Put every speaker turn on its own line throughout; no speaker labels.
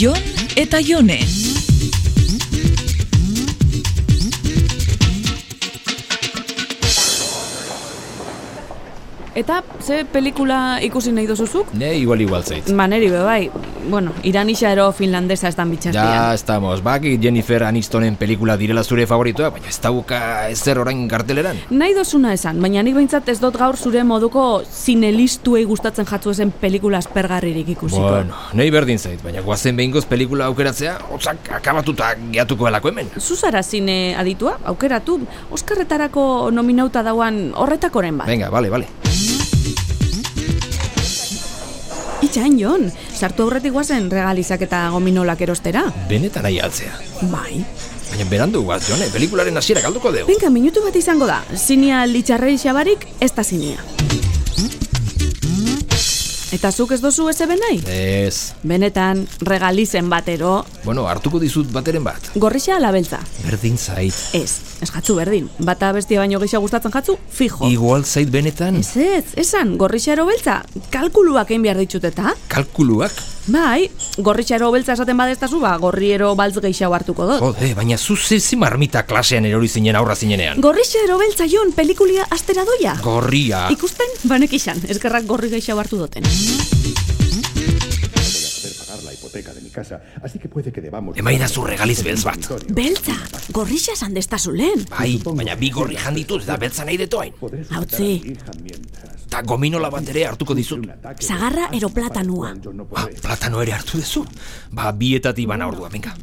Jon eta Jone.
Eta, ze pelikula ikusi nahi dozuzuk?
Ne, igual igual zait.
Maneri be bai, bueno, iranisa ero finlandesa estan
Ja,
bitxartian.
estamos. Baki Jennifer Anistonen pelikula direla zure favoritoa, baina ez dauka ezer orain karteleran.
Nahi dozuna esan, baina nik behintzat ez dut gaur zure moduko zinelistuei gustatzen jatzu ezen pelikula aspergarririk ikusiko.
Bueno, nahi berdin zait, baina guazen behingoz pelikula aukeratzea, hotzak akabatuta geatuko elako hemen.
Zuzara zine aditua, aukeratu, Oskarretarako nominauta dauan horretakoren bat.
Venga, vale, vale.
Itxain jon, sartu aurretik guazen regalizak eta gominolak erostera.
Benetan nahi atzea.
Bai.
Baina berandu guaz, jone, pelikularen hasiera galduko dugu.
Benka, minutu bat izango da, zinia litxarrei xabarik, ez da zinia. Eta zuk ez dozu ez eben nahi?
Ez.
Benetan, regalizen batero,
Bueno, hartuko dizut bateren bat.
gorrixa labeltza.
Berdin zait.
Ez, ez jatzu berdin. Bata bestia baino gehiago gustatzen jatzu, fijo.
Igual zait benetan.
Ez ez, esan, gorrixaro beltza, kalkuluak egin behar ditut eta?
Kalkuluak?
Bai, gorrixaro beltza esaten badestazu, ba, gorriero baltz gehiago hartuko dut.
Jode, baina zu zezi marmita klasean erori zinen aurra zinenean.
Gorrixaro beltza jon, pelikulia astera doia.
Gorria.
Ikusten, banek izan, eskerrak gorri gehiago hartu duten.
poder pagar la hipoteca de mi casa, así que puede que debamos...
Emainazu regaliz beltz bat.
Beltza, gorrixa esan destazu lehen.
Bai, baina bi gorri jandituz da beltza nahi detoain.
Hautzi,
Ta gominola bat ere hartuko dizut.
sagarra ero platanua.
Ba, platano ere hartu dezu. Ba, bietatik bana ordua, venga.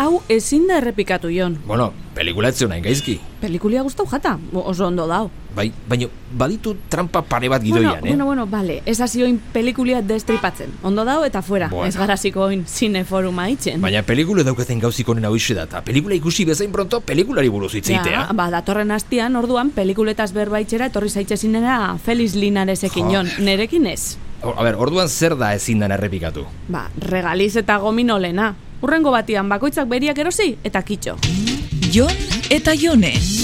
Hau ezin da errepikatu jon.
Bueno, pelikula etzio nahi gaizki.
Pelikulia gustau jata, o- oso ondo dau.
Bai, baina baditu trampa pare bat gidoian,
bueno,
eh?
bueno, bueno, vale, ez hasi oin pelikulia destripatzen. Ondo dau eta fuera,
Bueno.
ez garaziko oin zineforuma itxen.
Baina pelikula daukaten gauzik honen hau da, eta pelikula ikusi bezain pronto pelikulari buruz hitz egitea.
Ja, ba, datorren astian, orduan, pelikuletaz berbaitzera etorri zaitxezinera Feliz Linaresekin jon, nerekin ez.
O- A ber, orduan zer da ezin dan errepikatu?
Ba, regaliz eta gominolena. Urrengo batian bakoitzak beriak erosi eta kitxo.
Jon eta Jone.